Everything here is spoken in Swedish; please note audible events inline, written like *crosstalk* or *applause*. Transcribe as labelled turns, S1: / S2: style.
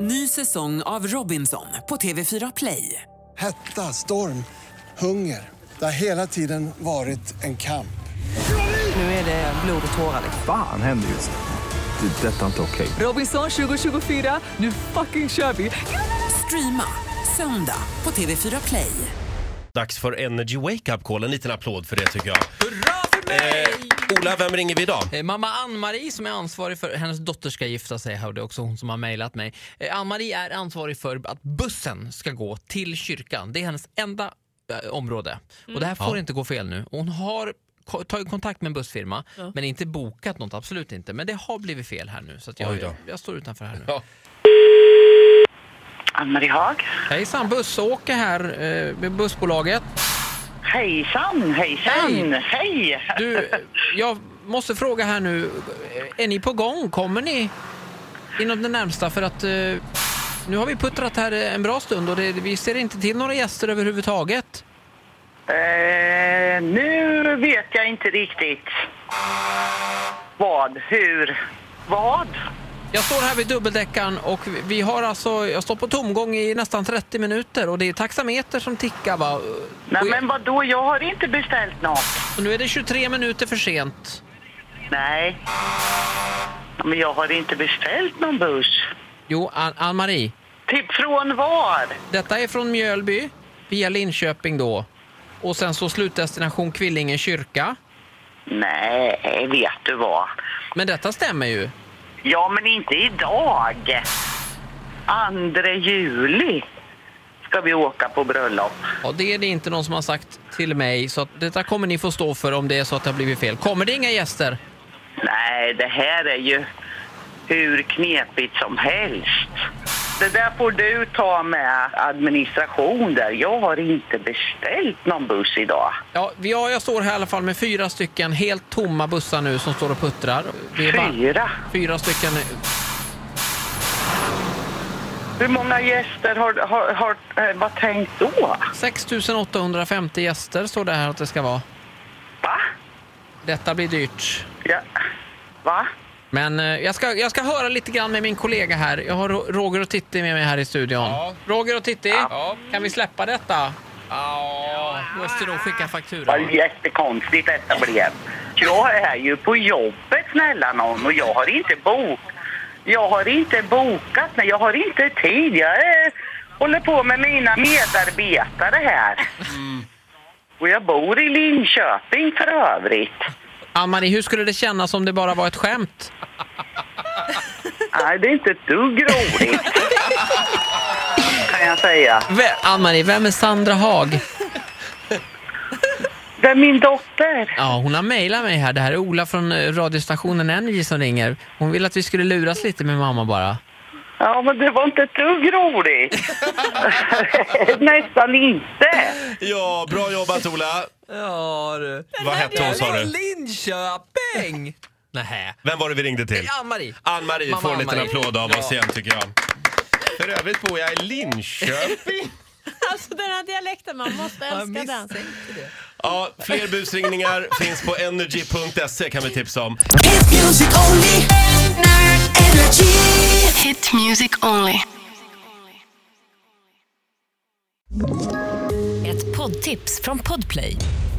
S1: Ny säsong av Robinson på TV4 Play.
S2: Hetta, storm, hunger. Det har hela tiden varit en kamp.
S1: Nu är det blod och tårar. liksom.
S3: Fan händer just nu. Det. är Detta är inte okej.
S1: Robinson 2024, nu fucking kör vi! Streama söndag på TV4 Play.
S4: Dags för Energy Wake Up Call. En liten applåd för det tycker jag. Hurra för mig! Eh, Ola, vem ringer vi idag?
S5: Eh, Mamma Ann-Marie som är ansvarig för, hennes dotter ska gifta sig här och det är också hon som har mejlat mig. Eh, Ann-Marie är ansvarig för att bussen ska gå till kyrkan. Det är hennes enda eh, område. Och
S4: Mm.
S5: det här får inte gå fel nu. Och Hon har ko- tagit kontakt med en bussfirma men inte bokat något, absolut inte. Men det har blivit fel här nu så att
S4: Oj
S5: jag,
S4: då.
S5: jag, står utanför här nu.
S4: Ja.
S6: Ann-Marie Haag.
S5: Hejsan, bussåker här, eh, med bussbolaget.
S6: Hejsan, hejsan, hej!
S5: Du, eh, jag måste fråga här nu, eh, är ni på gång? Kommer ni inom det närmsta? För att eh, nu har vi puttrat här eh, en bra stund och det, vi ser inte till några gäster överhuvudtaget.
S6: Eh, nu vet jag inte riktigt vad, hur, vad.
S5: Jag står här vid dubbeldäckaren och vi- vi har alltså, jag står på tomgång i nästan 30 minuter och det är taxameter som tickar va?
S6: Nej
S5: Och jag-
S6: men vadå, jag har inte beställt något.
S5: och nu är det 23 minuter för sent.
S6: Nej. Men jag har inte beställt någon buss.
S5: Jo, Ann- Ann-Marie,
S6: Till från var?
S5: detta är från Mjölby via Linköping då och sen så slutdestination Kvillingen kyrka.
S6: Nej, vet du vad.
S5: Men detta stämmer ju.
S6: Ja men inte idag. 2 juli ska vi åka på bröllop.
S5: Ja, det är det inte någon som har sagt till mig, så att detta kommer ni få stå för om det är så att det har blivit fel. Kommer det inga gäster?
S6: Nej, det här är ju hur knepigt som helst. Det där får du ta med administration där. Jag har inte beställt någon buss idag.
S5: Ja, vi- ja, jag står här i alla fall med fyra stycken helt tomma bussar nu som står och puttrar. Det är bara-
S6: Fyra.
S5: Fyra stycken.
S6: Hur många gäster har, har, har eh, vad tänkt då?
S5: 6850 gäster står det här att det ska vara.
S6: Va?
S5: Detta blir dyrt.
S6: Ja. Va?
S5: Men eh, jag ska, jag ska höra lite grann med min kollega här. Jag har Ro- Roger och Titti med mig här i studion.
S4: Ja.
S5: Roger och Titti, kan vi släppa detta? Ja, måste då skicka faktura.
S6: Vad jättekonstigt detta blev. Jag är ju på jobbet snälla någon och jag har inte bok. Jag har inte bokat, nej jag har inte tid. Jag eh, håller på med mina medarbetare här. Och jag bor i Linköping för övrigt.
S5: Ann-Marie, hur skulle det kännas om det bara var ett skämt?
S6: Nej, det är inte ett dugg roligt. Kan jag säga.
S5: Ve- Ann-Marie, vem är Sandra Hag?
S6: Det är min dotter.
S5: Ja, hon har mejlat mig här. Det här är Ola från eh, radiostationen Energy som ringer. Hon vill att vi skulle luras lite med mamma bara.
S6: Ja, men det var inte ett dugg roligt. *laughs* Nästan inte.
S4: ja, bra jobbat Ola.
S5: Ja du.
S4: Vad hette hon sa du?
S5: Linköping! *laughs* Nähä.
S4: Vem var det vi ringde till?
S5: Ann-Marie.
S4: Ann-Marie
S5: Mamma
S4: får en liten
S5: Ann-Marie.
S4: applåd av
S5: Ja.
S4: oss igen tycker jag. För övrigt bor jag i Linköping.
S7: Alltså den här dialekten, man
S5: *laughs*
S7: måste älska den.
S4: Ja, fler busringningar finns på energy.se kan vi tipsa om.
S8: Hit music only. Energy.
S9: Hit music only.
S10: Ett poddtips från Podplay.